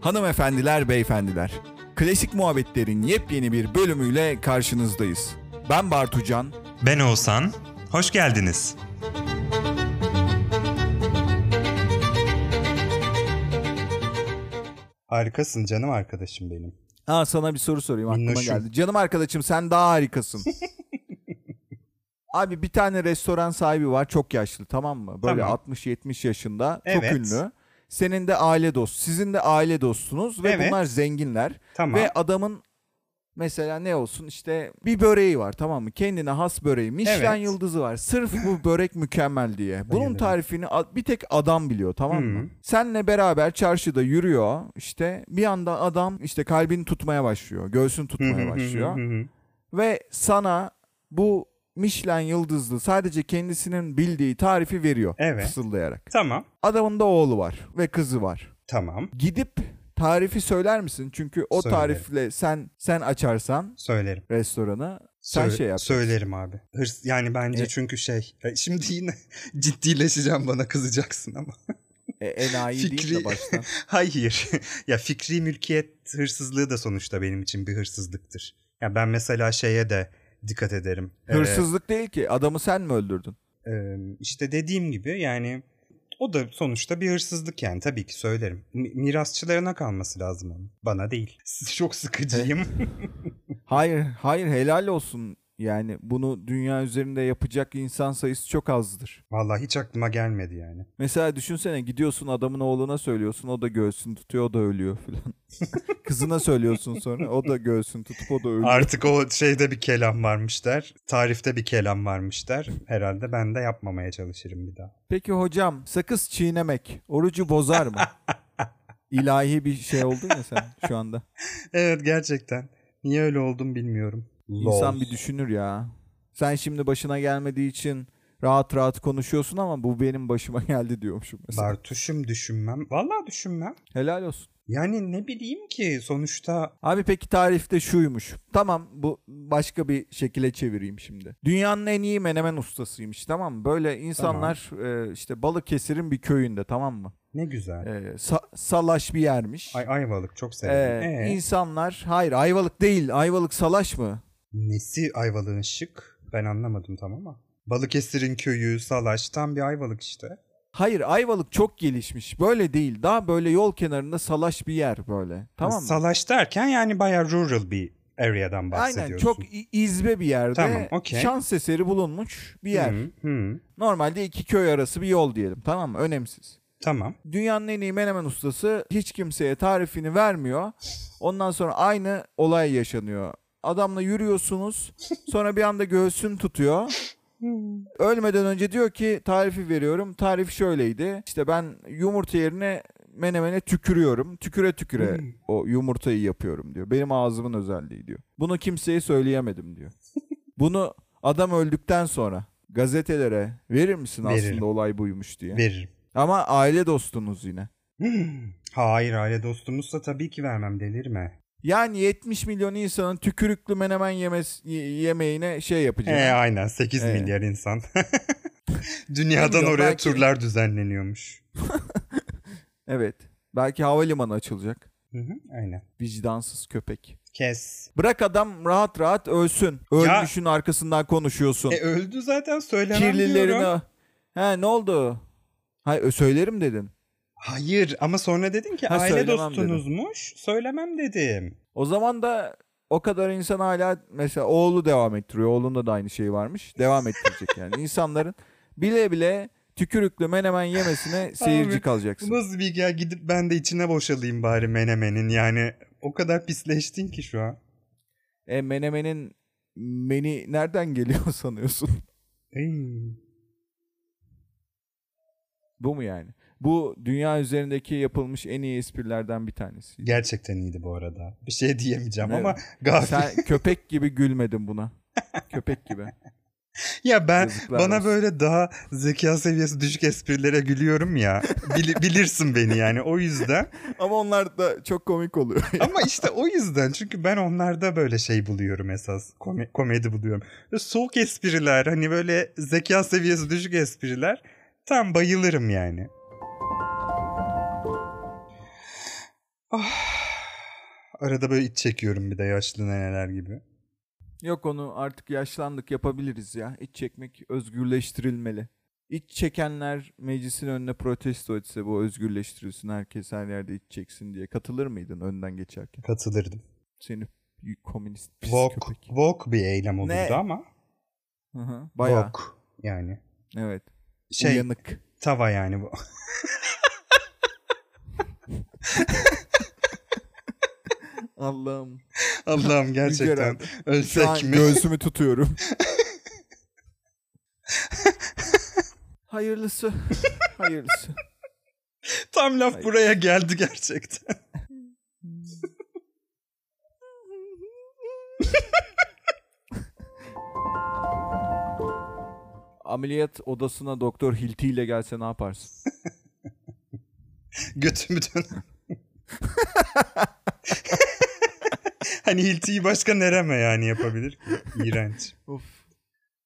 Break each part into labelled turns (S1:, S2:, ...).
S1: Hanımefendiler, beyefendiler. Klasik muhabbetlerin yepyeni bir bölümüyle karşınızdayız. Ben Bartucan.
S2: Ben Oğuzhan. Hoş geldiniz. Harikasın canım arkadaşım benim.
S1: Aa, sana bir soru sorayım aklıma
S2: Minnoşum.
S1: geldi. Canım arkadaşım sen daha harikasın. Abi bir tane restoran sahibi var çok yaşlı tamam mı? Böyle
S2: Tamam.
S1: 60-70 yaşında çok
S2: Evet.
S1: ünlü. Senin de aile dost, sizin de aile dostsunuz ve
S2: Evet.
S1: bunlar zenginler.
S2: Tamam.
S1: Ve adamın mesela ne olsun işte bir böreği var tamam mı? Kendine has böreği. Michelin
S2: Evet.
S1: yıldızı var. Sırf bu börek mükemmel diye. Bunun
S2: Bayılırım.
S1: tarifini a- bir tek adam biliyor tamam mı?
S2: Hı.
S1: Senle beraber çarşıda yürüyor işte bir anda adam işte kalbini tutmaya başlıyor. Göğsünü tutmaya başlıyor. Ve sana bu Michelin yıldızlı sadece kendisinin bildiği tarifi veriyor
S2: Evet.
S1: fısıldayarak.
S2: tamam.
S1: Adamın da oğlu var ve kızı var
S2: Tamam.
S1: gidip tarifi söyler misin? Çünkü o
S2: Söylerim.
S1: tarifle sen sen açarsan
S2: Söylerim.
S1: restoranı sen
S2: Söyle-
S1: şey yap.
S2: Söylerim abi. Hırs, yani bence
S1: E-
S2: çünkü şey. e, Şimdi yine ciddileşeceğim bana kızacaksın ama.
S1: E, enayi değil de
S2: Fikri-
S1: baştan.
S2: Hayır. ya fikri mülkiyet hırsızlığı da sonuçta benim için bir hırsızlıktır. Ya ben mesela şeye de dikkat ederim. Ee,
S1: Hırsızlık değil ki. Adamı sen mi öldürdün?
S2: Ee, işte dediğim gibi yani o da sonuçta bir hırsızlık yani tabii ki söylerim. Mi- mirasçılarına kalması lazım onun. Bana değil. Çok sıkıcıyım.
S1: Hayır, hayır helal olsun. Yani bunu dünya üzerinde yapacak insan sayısı çok azdır.
S2: Vallahi hiç aklıma gelmedi yani.
S1: Mesela düşünsene gidiyorsun adamın oğluna söylüyorsun o da göğsünü tutuyor o da ölüyor filan. Kızına söylüyorsun sonra o da göğsünü tutup o da ölüyor.
S2: Artık o şeyde bir kelam varmış der. Tarifte bir kelam varmış der. Herhalde ben de yapmamaya çalışırım bir daha.
S1: Peki hocam sakız çiğnemek orucu bozar mı? İlahi bir şey oldun ya sen şu anda.
S2: Evet gerçekten. Niye öyle oldum bilmiyorum.
S1: İnsan
S2: Lol.
S1: bir düşünür ya. Sen şimdi başına gelmediği için rahat rahat konuşuyorsun ama bu benim başıma geldi diyormuşum mesela.
S2: Bartuşum düşünmem. Vallahi düşünmem.
S1: Helal olsun.
S2: Yani ne bileyim ki sonuçta
S1: Abi peki tarifte şuymuş. Tamam bu başka bir şekilde çevireyim şimdi. Dünyanın en iyi menemen ustasıymış tamam mı? Böyle insanlar e, işte Balıkesir'in bir köyünde tamam mı?
S2: ne güzel.
S1: E, sa- salaş bir yermiş.
S2: Ay Ayvalık çok severim.
S1: Ee,
S2: Ee?
S1: insanlar hayır Ayvalık değil Ayvalık Salaş mı?
S2: Nesi Ayvalık'ın şık? Ben anlamadım tam ama. Balıkesir'in köyü, Salaş tam bir Ayvalık işte.
S1: Hayır Ayvalık çok gelişmiş böyle değil daha böyle yol kenarında salaş bir yer böyle tamam mı?
S2: Hani Salaş derken yani bayağı rural bir area'dan bahsediyorsun.
S1: Aynen çok i- izbe bir yerde
S2: Tamam, okey.
S1: şans eseri bulunmuş bir yer.
S2: Hı, hı.
S1: Normalde iki köy arası bir yol diyelim tamam mı önemsiz.
S2: Tamam.
S1: Dünyanın en iyi menemen ustası hiç kimseye tarifini vermiyor. Ondan sonra aynı olay yaşanıyor. Adamla yürüyorsunuz. Sonra bir anda göğsün tutuyor. Ölmeden önce diyor ki tarifi veriyorum. Tarif şöyleydi. İşte ben yumurta yerine menemene tükürüyorum. Tüküre tüküre o yumurtayı yapıyorum diyor. Benim ağzımın özelliği diyor. Bunu kimseye söyleyemedim diyor. Bunu adam öldükten sonra gazetelere verir misin
S2: Veririm.
S1: aslında olay buymuş diye.
S2: Veririm.
S1: Ama aile dostunuz yine.
S2: Hayır aile dostumuzsa tabii ki vermem delirme.
S1: Yani 70 milyon insanın tükürüklü menemen yemes y- yemeğine şey yapacağım.
S2: Ee, aynen 8
S1: Ee.
S2: milyar insan. Dünyadan
S1: Bilmiyorum,
S2: oraya
S1: belki-
S2: turlar düzenleniyormuş.
S1: evet. Belki havalimanı açılacak.
S2: Hı hı, aynen.
S1: Vicdansız köpek.
S2: Kes.
S1: Bırak adam rahat rahat ölsün.
S2: Ya-
S1: Ölmüşün arkasından konuşuyorsun.
S2: E öldü zaten söylemem diyorum.
S1: Kirlilerini... He ne oldu? Hayır ö- söylerim dedin.
S2: Hayır ama sonra dedin ki
S1: Ha,
S2: aile
S1: söylemem dedim.
S2: dostunuzmuş. Söylemem dedim.
S1: O zaman da o kadar insan hala mesela oğlu devam ettiriyor. Oğlunda da aynı şey varmış. Devam ettirecek yani. İnsanların bile bile tükürüklü menemen yemesine seyirci kalacaksın.
S2: Bu nasıl bir ya gidip ben de içine boşalayım bari menemenin yani. O kadar pisleştin ki şu an.
S1: E menemenin meni nereden geliyor sanıyorsun?
S2: Ey.
S1: Bu mu yani? Bu dünya üzerindeki yapılmış en iyi esprilerden bir tanesi.
S2: Gerçekten iyiydi bu arada. Bir şey diyemeyeceğim
S1: Evet.
S2: ama gafil.
S1: Sen köpek gibi gülmedin buna. Köpek gibi.
S2: ya ben
S1: Yazıklar
S2: bana
S1: olsun.
S2: böyle daha zeka seviyesi düşük esprilere gülüyorum ya. Bili- bilirsin beni yani o yüzden.
S1: Ama onlar da çok komik oluyor.
S2: Ama işte o yüzden çünkü ben onlarda böyle şey buluyorum esas. Kome- komedi buluyorum. Böyle soğuk espriler hani böyle zeka seviyesi düşük espriler Tam bayılırım yani. Ah. Arada böyle iç çekiyorum bir de yaşlı neneler gibi.
S1: Yok onu artık yaşlandık yapabiliriz ya. İç çekmek özgürleştirilmeli. İç çekenler meclisin önüne protesto etse bu özgürleştirilsin herkes her yerde iç çeksin diye katılır mıydın önden geçerken?
S2: Katılırdım.
S1: Seni y- komünist pis
S2: Vok,
S1: köpek.
S2: vok bir eylem olurdu
S1: Ne?
S2: ama.
S1: Hı hı, Bayağı.
S2: Vok yani.
S1: Evet.
S2: Şey
S1: Uyanık.
S2: tava yani bu.
S1: Allah'ım.
S2: Allah'ım
S1: Rüzgar
S2: gerçekten
S1: abi. Şu an
S2: ölsek mi?
S1: göğsümü tutuyorum. Hayırlısı. Hayırlısı.
S2: Tam laf
S1: Hayır.
S2: buraya geldi gerçekten.
S1: Ameliyat odasına doktor Hilti ile gelse ne yaparsın?
S2: Götümü dön. hani hiltiyi başka nereme yani yapabilir ki? İğrenç.
S1: Of.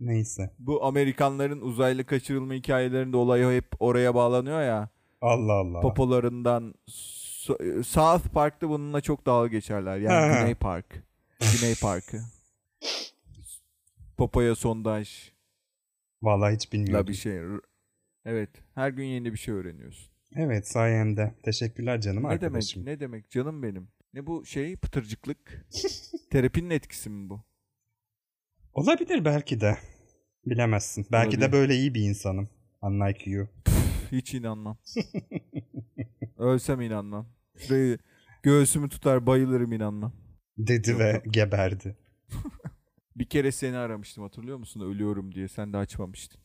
S2: Neyse.
S1: Bu Amerikanların uzaylı kaçırılma hikayelerinde olay hep oraya bağlanıyor ya.
S2: Allah Allah.
S1: Popolarından So- e, South Park'ta bununla çok dalga geçerler.
S2: Ha,
S1: Yani
S2: ha.
S1: Güney Park. Güney Park'ı. Popoya sondaj.
S2: Vallahi hiç bilmiyorum.
S1: La bir şey. Evet. Her gün yeni bir şey öğreniyorsun.
S2: Evet sayende. Teşekkürler canım
S1: Ne demek?
S2: arkadaşım.
S1: Ne demek canım benim? Ne bu şey pıtırcıklık? Terapinin etkisi mi bu?
S2: Olabilir belki de. Bilemezsin. Belki de
S1: Olabilir.
S2: böyle iyi bir insanım. Unlike you.
S1: Hiç inanmam. Ölsem inanmam. Şurayı göğsümü tutar bayılırım inanmam.
S2: Dedi
S1: Yok,
S2: ve
S1: yok.
S2: geberdi.
S1: Bir kere seni aramıştım hatırlıyor musun? Ölüyorum diye sen de açmamıştın.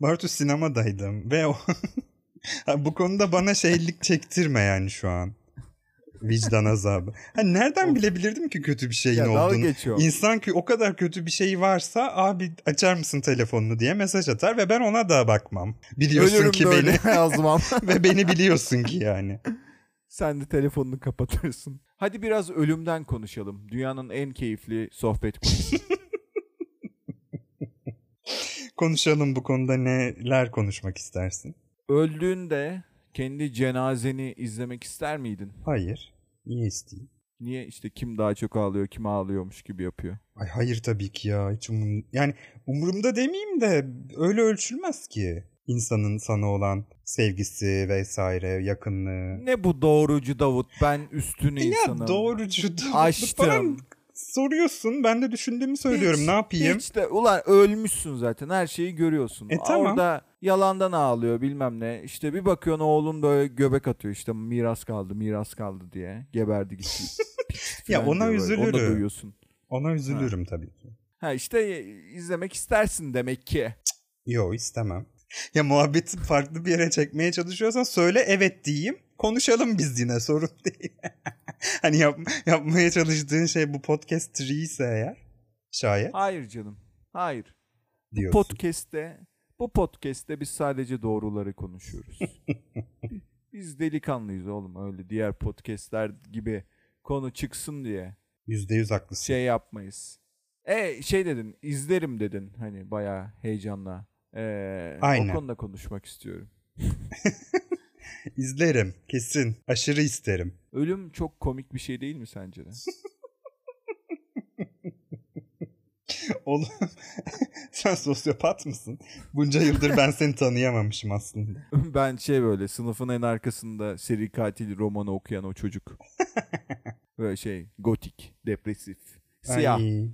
S2: Bartu sinemadaydım ve o... Ha, Bu konuda bana şeylik çektirme yani şu an. Vicdan azabı. Ha, nereden bilebilirdim ki kötü bir şeyin
S1: Ya dalga
S2: olduğunu?
S1: geçiyor.
S2: İnsan ki o kadar kötü bir şey varsa abi açar mısın telefonunu diye mesaj atar ve ben ona da bakmam. Biliyorsun
S1: Ölürüm
S2: ki
S1: de öyle
S2: beni
S1: yazmam.
S2: ve beni biliyorsun ki yani.
S1: Sen de telefonunu kapatırsın. Hadi biraz ölümden konuşalım. Dünyanın en keyifli sohbet konusu.
S2: Konuşalım bu konuda neler konuşmak istersin?
S1: Öldüğünde kendi cenazeni izlemek ister miydin?
S2: Hayır. Niye isteyeyim?
S1: Niye işte kim daha çok ağlıyor, kim ağlıyormuş gibi yapıyor.
S2: Ay hayır tabii ki ya. Hiç umur... Yani umurumda demeyeyim de öyle ölçülmez ki. insanın sana olan sevgisi vesaire, yakınlığı.
S1: Ne bu doğrucu Davut? Ben üstüne insanım.
S2: E Ya doğrucu. da-
S1: Açtım.
S2: Bana soruyorsun. Ben de düşündüğümü söylüyorum.
S1: Hiç-
S2: ne yapayım?
S1: Hiç de ulan ölmüşsün zaten her şeyi görüyorsun.
S2: E, tamam.
S1: Orada yalandan ağlıyor bilmem ne. İşte bir bakıyorsun oğlun böyle göbek atıyor işte miras kaldı miras kaldı diye. Geberdi gitti. Piç
S2: Ya
S1: falan
S2: ona
S1: diyor böyle. Onu da
S2: üzülürüm.
S1: duyuyorsun.
S2: Ona üzülürüm tabii ki.
S1: Ha işte e, izlemek istersin demek ki.
S2: Yo istemem. Ya muhabbeti farklı bir yere çekmeye çalışıyorsan söyle evet diyeyim. Konuşalım biz yine sorun değil. hani yap, yapmaya çalıştığın şey bu podcast tree ise eğer şayet
S1: Hayır canım. Hayır.
S2: diyorsun.
S1: Podcast'te bu podcast'te biz sadece doğruları konuşuyoruz. biz delikanlıyız oğlum öyle diğer podcast'ler gibi konu çıksın diye.
S2: Yüzde yüz haklısın.
S1: şey yapmayız. E şey dedin izlerim dedin hani bayağı heyecanla. Ee,
S2: Aynen.
S1: O konuda konuşmak istiyorum.
S2: İzlerim kesin. Aşırı isterim.
S1: Ölüm çok komik bir şey değil mi sence de?
S2: Oğlum sen sosyopat mısın? Bunca yıldır ben seni tanıyamamışım aslında.
S1: ben şey böyle sınıfın en arkasında seri katil romanı okuyan o çocuk. böyle şey gotik, depresif, siyah.
S2: Ay,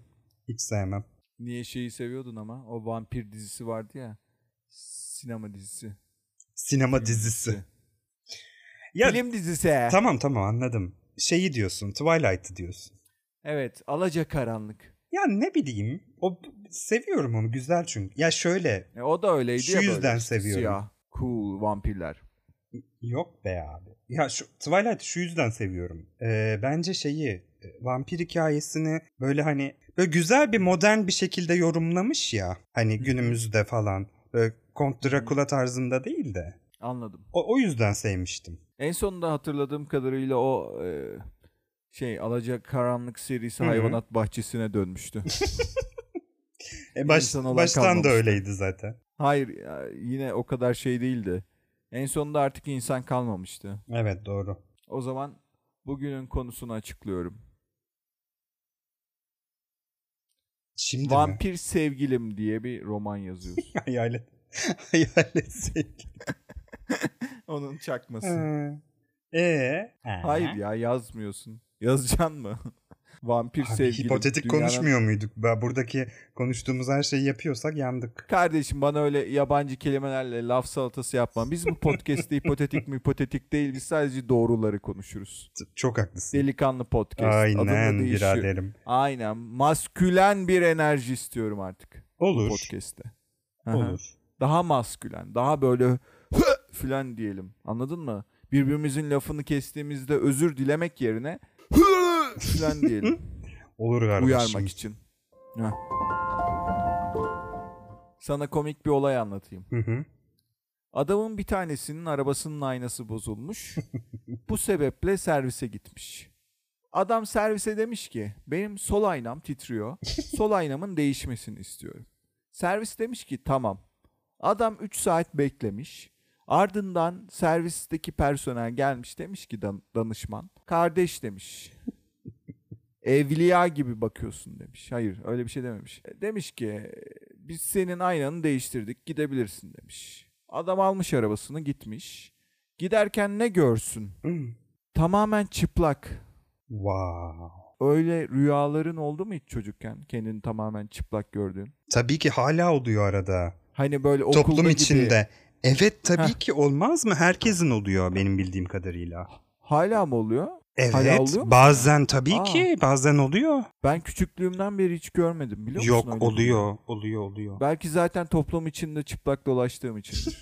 S2: hiç sevmem.
S1: Niye şeyi seviyordun ama? O vampir dizisi vardı ya. Sinema dizisi.
S2: Sinema dizisi. Ya
S1: Film dizisi.
S2: tamam tamam anladım. Şeyi diyorsun Twilight'ı diyorsun.
S1: evet, Alaca Karanlık.
S2: Ya ne bileyim. O seviyorum onu. Güzel çünkü. Ya şöyle
S1: E, o da öyleydi
S2: Şu
S1: ya böyle.
S2: yüzden
S1: işte
S2: seviyorum.
S1: Siyah, cool vampirler.
S2: yok be abi. Ya şu Twilight şu yüzden seviyorum. Ee, bence şeyi e, vampir hikayesini böyle hani böyle güzel bir modern bir şekilde yorumlamış ya. Hani günümüzde falan. Böyle Kont Dracula tarzında değil de.
S1: Anladım.
S2: O, o yüzden sevmiştim.
S1: En sonunda hatırladığım kadarıyla o e, şey Alacak Karanlık serisi
S2: Hı hı.
S1: hayvanat bahçesine dönmüştü.
S2: E baş-
S1: İnsan olan
S2: baştan da
S1: kalmamıştı.
S2: öyleydi zaten.
S1: Hayır ya, yine o kadar şey değildi. En sonunda artık insan kalmamıştı.
S2: Evet doğru.
S1: O zaman bugünün konusunu açıklıyorum.
S2: Şimdi mi?
S1: Vampir Sevgilim diye bir roman yazıyorsun.
S2: Hayalet. Hayalet sevgili.
S1: Onun çakması.
S2: Ee, Ee?
S1: Hayır ya yazmıyorsun. Yazacaksın mı? Vampir
S2: Abi,
S1: Sevgilim.
S2: hipotetik
S1: dünyanın-
S2: konuşmuyor muyduk? Ben Buradaki konuştuğumuz her şeyi yapıyorsak yandık.
S1: Kardeşim bana öyle yabancı kelimelerle laf salatası yapma. Biz bu podcast'te hipotetik mi hipotetik değil biz sadece doğruları konuşuruz.
S2: Çok haklısın.
S1: Delikanlı podcast. Adında
S2: Aynen
S1: değişiyor.
S2: biraderim.
S1: Aynen. Maskülen bir enerji istiyorum artık
S2: Olur.
S1: podcast'te. Aha.
S2: Olur.
S1: Daha maskülen, daha böyle filan diyelim. Anladın mı? Birbirimizin lafını kestiğimizde özür dilemek yerine filan diyelim.
S2: Olur kardeşim.
S1: uyarmak için. Heh. Sana komik bir olay anlatayım.
S2: Hı hı.
S1: Adamın bir tanesinin arabasının aynası bozulmuş. Bu sebeple servise gitmiş. Adam servise demiş ki benim sol aynam titriyor. Sol aynamın değişmesini istiyorum. Servis demiş ki tamam. Adam 3 saat beklemiş. Ardından servisteki personel gelmiş demiş ki dan- danışman. Kardeş demiş. Evliya gibi bakıyorsun demiş. Hayır öyle bir şey dememiş. Demiş ki biz senin aynanı değiştirdik gidebilirsin demiş. Adam almış arabasını gitmiş. Giderken ne görsün? Tamamen çıplak.
S2: Wow.
S1: Öyle rüyaların oldu mu hiç çocukken? Kendini tamamen çıplak gördüğün.
S2: Tabii ki hala oluyor arada.
S1: Hani böyle okulda
S2: Toplum
S1: gibi.
S2: içinde. Evet tabii
S1: Heh.
S2: ki olmaz mı? Herkesin oluyor benim bildiğim kadarıyla.
S1: Hala mı oluyor?
S2: Evet.
S1: Hala oluyor mu?
S2: bazen tabii
S1: Aa.
S2: ki bazen oluyor.
S1: Ben küçüklüğümden beri hiç görmedim biliyor musun?
S2: Yok
S1: öyle bir şey?
S2: oluyor, oluyor, oluyor.
S1: Belki zaten toplum içinde çıplak dolaştığım için.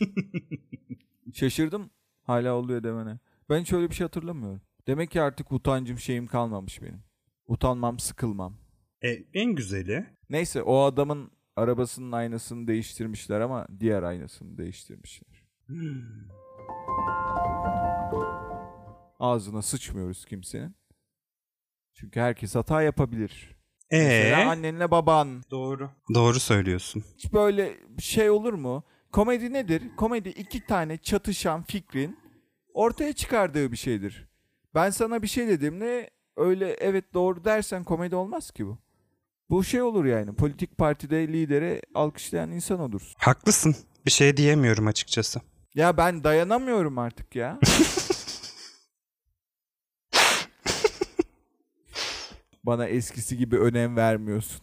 S1: Şaşırdım. Hala oluyor demene. Ben hiç öyle bir şey hatırlamıyorum. Demek ki artık utancım şeyim kalmamış benim. Utanmam, sıkılmam.
S2: E, en güzeli
S1: Neyse o adamın arabasının aynasını değiştirmişler ama diğer aynasını değiştirmişler. Ağzına sıçmıyoruz kimsenin. Çünkü herkes hata yapabilir. Mesela
S2: Ee,
S1: annenle baban
S2: doğru. Doğru söylüyorsun.
S1: hiç böyle şey olur mu? Komedi nedir? Komedi iki tane çatışan fikrin ortaya çıkardığı bir şeydir. Ben sana bir şey dediğimde öyle evet doğru dersen komedi olmaz ki bu. Bu şey olur yani politik partide lideri alkışlayan insan olursun.
S2: Haklısın. Bir şey diyemiyorum açıkçası.
S1: Ya ben dayanamıyorum artık ya. Bana eskisi gibi önem vermiyorsun.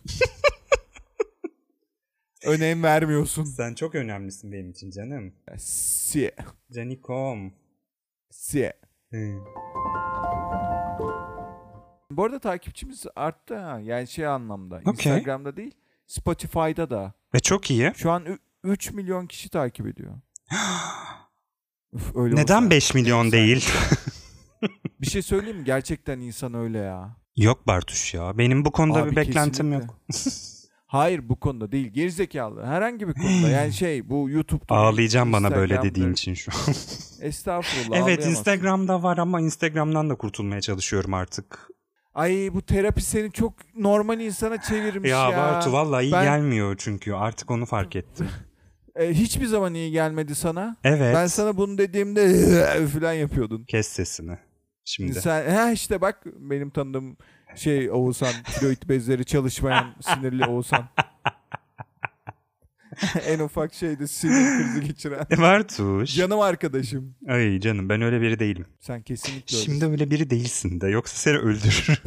S1: önem vermiyorsun.
S2: Sen çok önemlisin benim için canım.
S1: Si.
S2: Canikom.
S1: Si.
S2: Hı.
S1: Bu arada takipçimiz arttı ha. Yani şey anlamda.
S2: Okey.
S1: Instagram'da değil. Spotify'da da.
S2: Ve E, çok iyi.
S1: Şu an ü- 3 milyon kişi takip ediyor. Üf, öyle
S2: Neden
S1: olsa.
S2: 5 milyon değil?
S1: Bir şey söyleyeyim mi? Gerçekten insan öyle ya.
S2: yok Bartuş ya. Benim bu konuda
S1: Abi
S2: bir beklentim
S1: kesinlikle.
S2: yok.
S1: Hayır bu konuda değil. Gerizekalı. Herhangi bir konuda. Yani şey bu YouTube'da.
S2: Ağlayacağım bana böyle
S1: Instagram'da-
S2: dediğin için şu an.
S1: Estağfurullah.
S2: evet
S1: ağlayamazsın.
S2: Instagram'da var ama Instagram'dan da kurtulmaya çalışıyorum artık.
S1: Ay bu terapi seni çok normal insana çevirmiş ya.
S2: Ya, Bartu vallahi iyi
S1: ben-
S2: gelmiyor çünkü artık onu fark ettim.
S1: E, hiçbir zaman iyi gelmedi sana.
S2: Evet.
S1: Ben sana bunu dediğimde falan yapıyordun.
S2: Kes sesini. Şimdi.
S1: Sen, ha işte bak benim tanıdığım şey Oğuzhan, tiroid bezleri çalışmayan sinirli Oğuzhan. en ufak şeyde sinir krizi geçiren.
S2: E, Bartuş.
S1: Canım arkadaşım.
S2: Ay canım ben öyle biri değilim.
S1: Sen kesinlikle öylesin.
S2: Şimdi öyle biri değilsin de yoksa seni öldürür.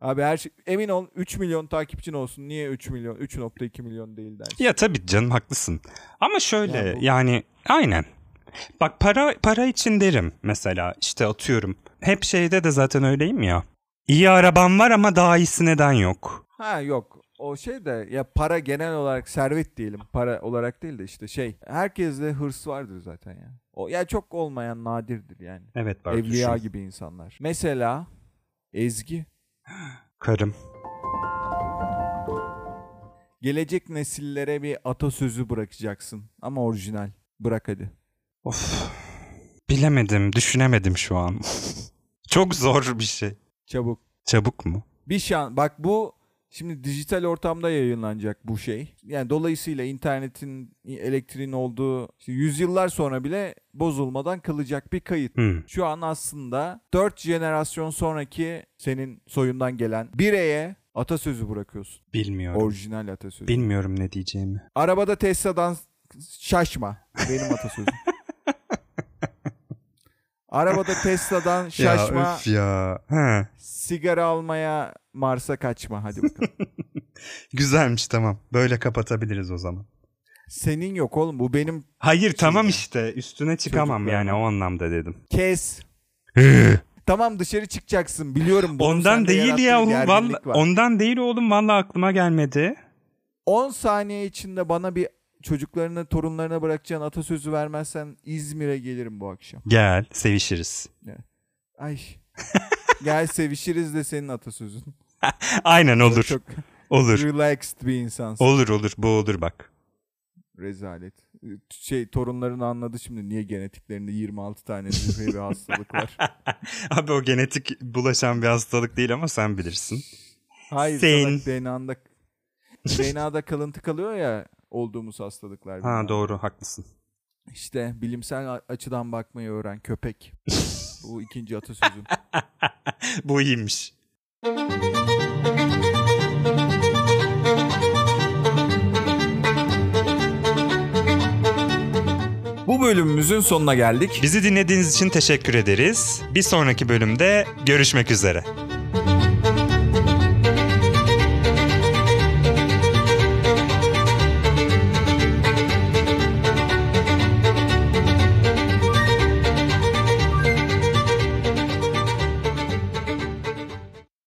S1: Abi her şey, emin ol 3 milyon takipçin olsun. Niye 3 milyon, 3.2 milyon değil dersin.
S2: ya tabii canım haklısın. Ama şöyle
S1: Ya bu-
S2: yani aynen. Bak para para için derim mesela işte atıyorum. Hep şeyde de zaten öyleyim ya. İyi arabam var ama daha iyisi neden yok.
S1: Ha yok. O şey de ya para genel olarak servet diyelim. Para olarak değil de işte şey. Herkeste hırs vardır zaten ya. O ya çok olmayan nadirdir yani.
S2: Evet Bartuş.
S1: Evliya gibi insanlar. Mesela Ezgi.
S2: Karım.
S1: Gelecek nesillere bir atasözü bırakacaksın. Ama orijinal. Bırak hadi.
S2: Of. Bilemedim, düşünemedim şu an. Çok zor bir şey.
S1: Çabuk.
S2: Çabuk mu?
S1: Bir şan. Bak bu Şimdi dijital ortamda yayınlanacak bu şey. Yani dolayısıyla internetin, elektriğin olduğu işte yüzyıllar sonra bile bozulmadan kalacak bir kayıt.
S2: Hmm.
S1: Şu an aslında 4 jenerasyon sonraki senin soyundan gelen bireye atasözü bırakıyorsun.
S2: Bilmiyorum.
S1: Orijinal atasözü.
S2: Bilmiyorum ne diyeceğimi.
S1: Arabada Tesla'dan şaşma. Benim atasözüm. Arabada Tesla'dan şaşma.
S2: Ya öf ya. Ha.
S1: Sigara almaya Mars'a kaçma. Hadi bakalım.
S2: Güzelmiş tamam. Böyle kapatabiliriz o zaman.
S1: Senin yok oğlum. Bu benim
S2: Hayır tamam işte üstüne çıkamam
S1: Çocuklar.
S2: yani o anlamda dedim.
S1: kes. Tamam dışarı çıkacaksın. Biliyorum. bunun
S2: ondan
S1: sende
S2: değil
S1: yarattığı
S2: ya oğlum
S1: gerginlik
S2: valla
S1: var.
S2: ondan değil oğlum valla aklıma gelmedi.
S1: 10 saniye içinde bana bir çocuklarına, torunlarına bırakacağın atasözü vermezsen İzmir'e gelirim bu akşam.
S2: Gel sevişiriz.
S1: Ay. Gel sevişiriz de senin atasözün.
S2: Aynen olur
S1: Çok
S2: olur
S1: relaxed bir insansın.
S2: olur olur bu olur bak.
S1: Rezalet. Şey torunların anladı şimdi niye genetiklerinde 26 tane zührevi hastalık var.
S2: Abi o genetik bulaşan bir hastalık değil ama sen bilirsin.
S1: Hayır
S2: Sen-
S1: salak DNA'da DNA'da kalıntı kalıyor ya olduğumuz hastalıklar.
S2: Ha
S1: bunlar.
S2: doğru haklısın.
S1: İşte bilimsel a- açıdan bakmayı öğren köpek. Bu ikinci atasözüm.
S2: Bu iyiymiş.
S1: Bu bölümümüzün sonuna geldik.
S2: Bizi dinlediğiniz için teşekkür ederiz. Bir sonraki bölümde görüşmek üzere.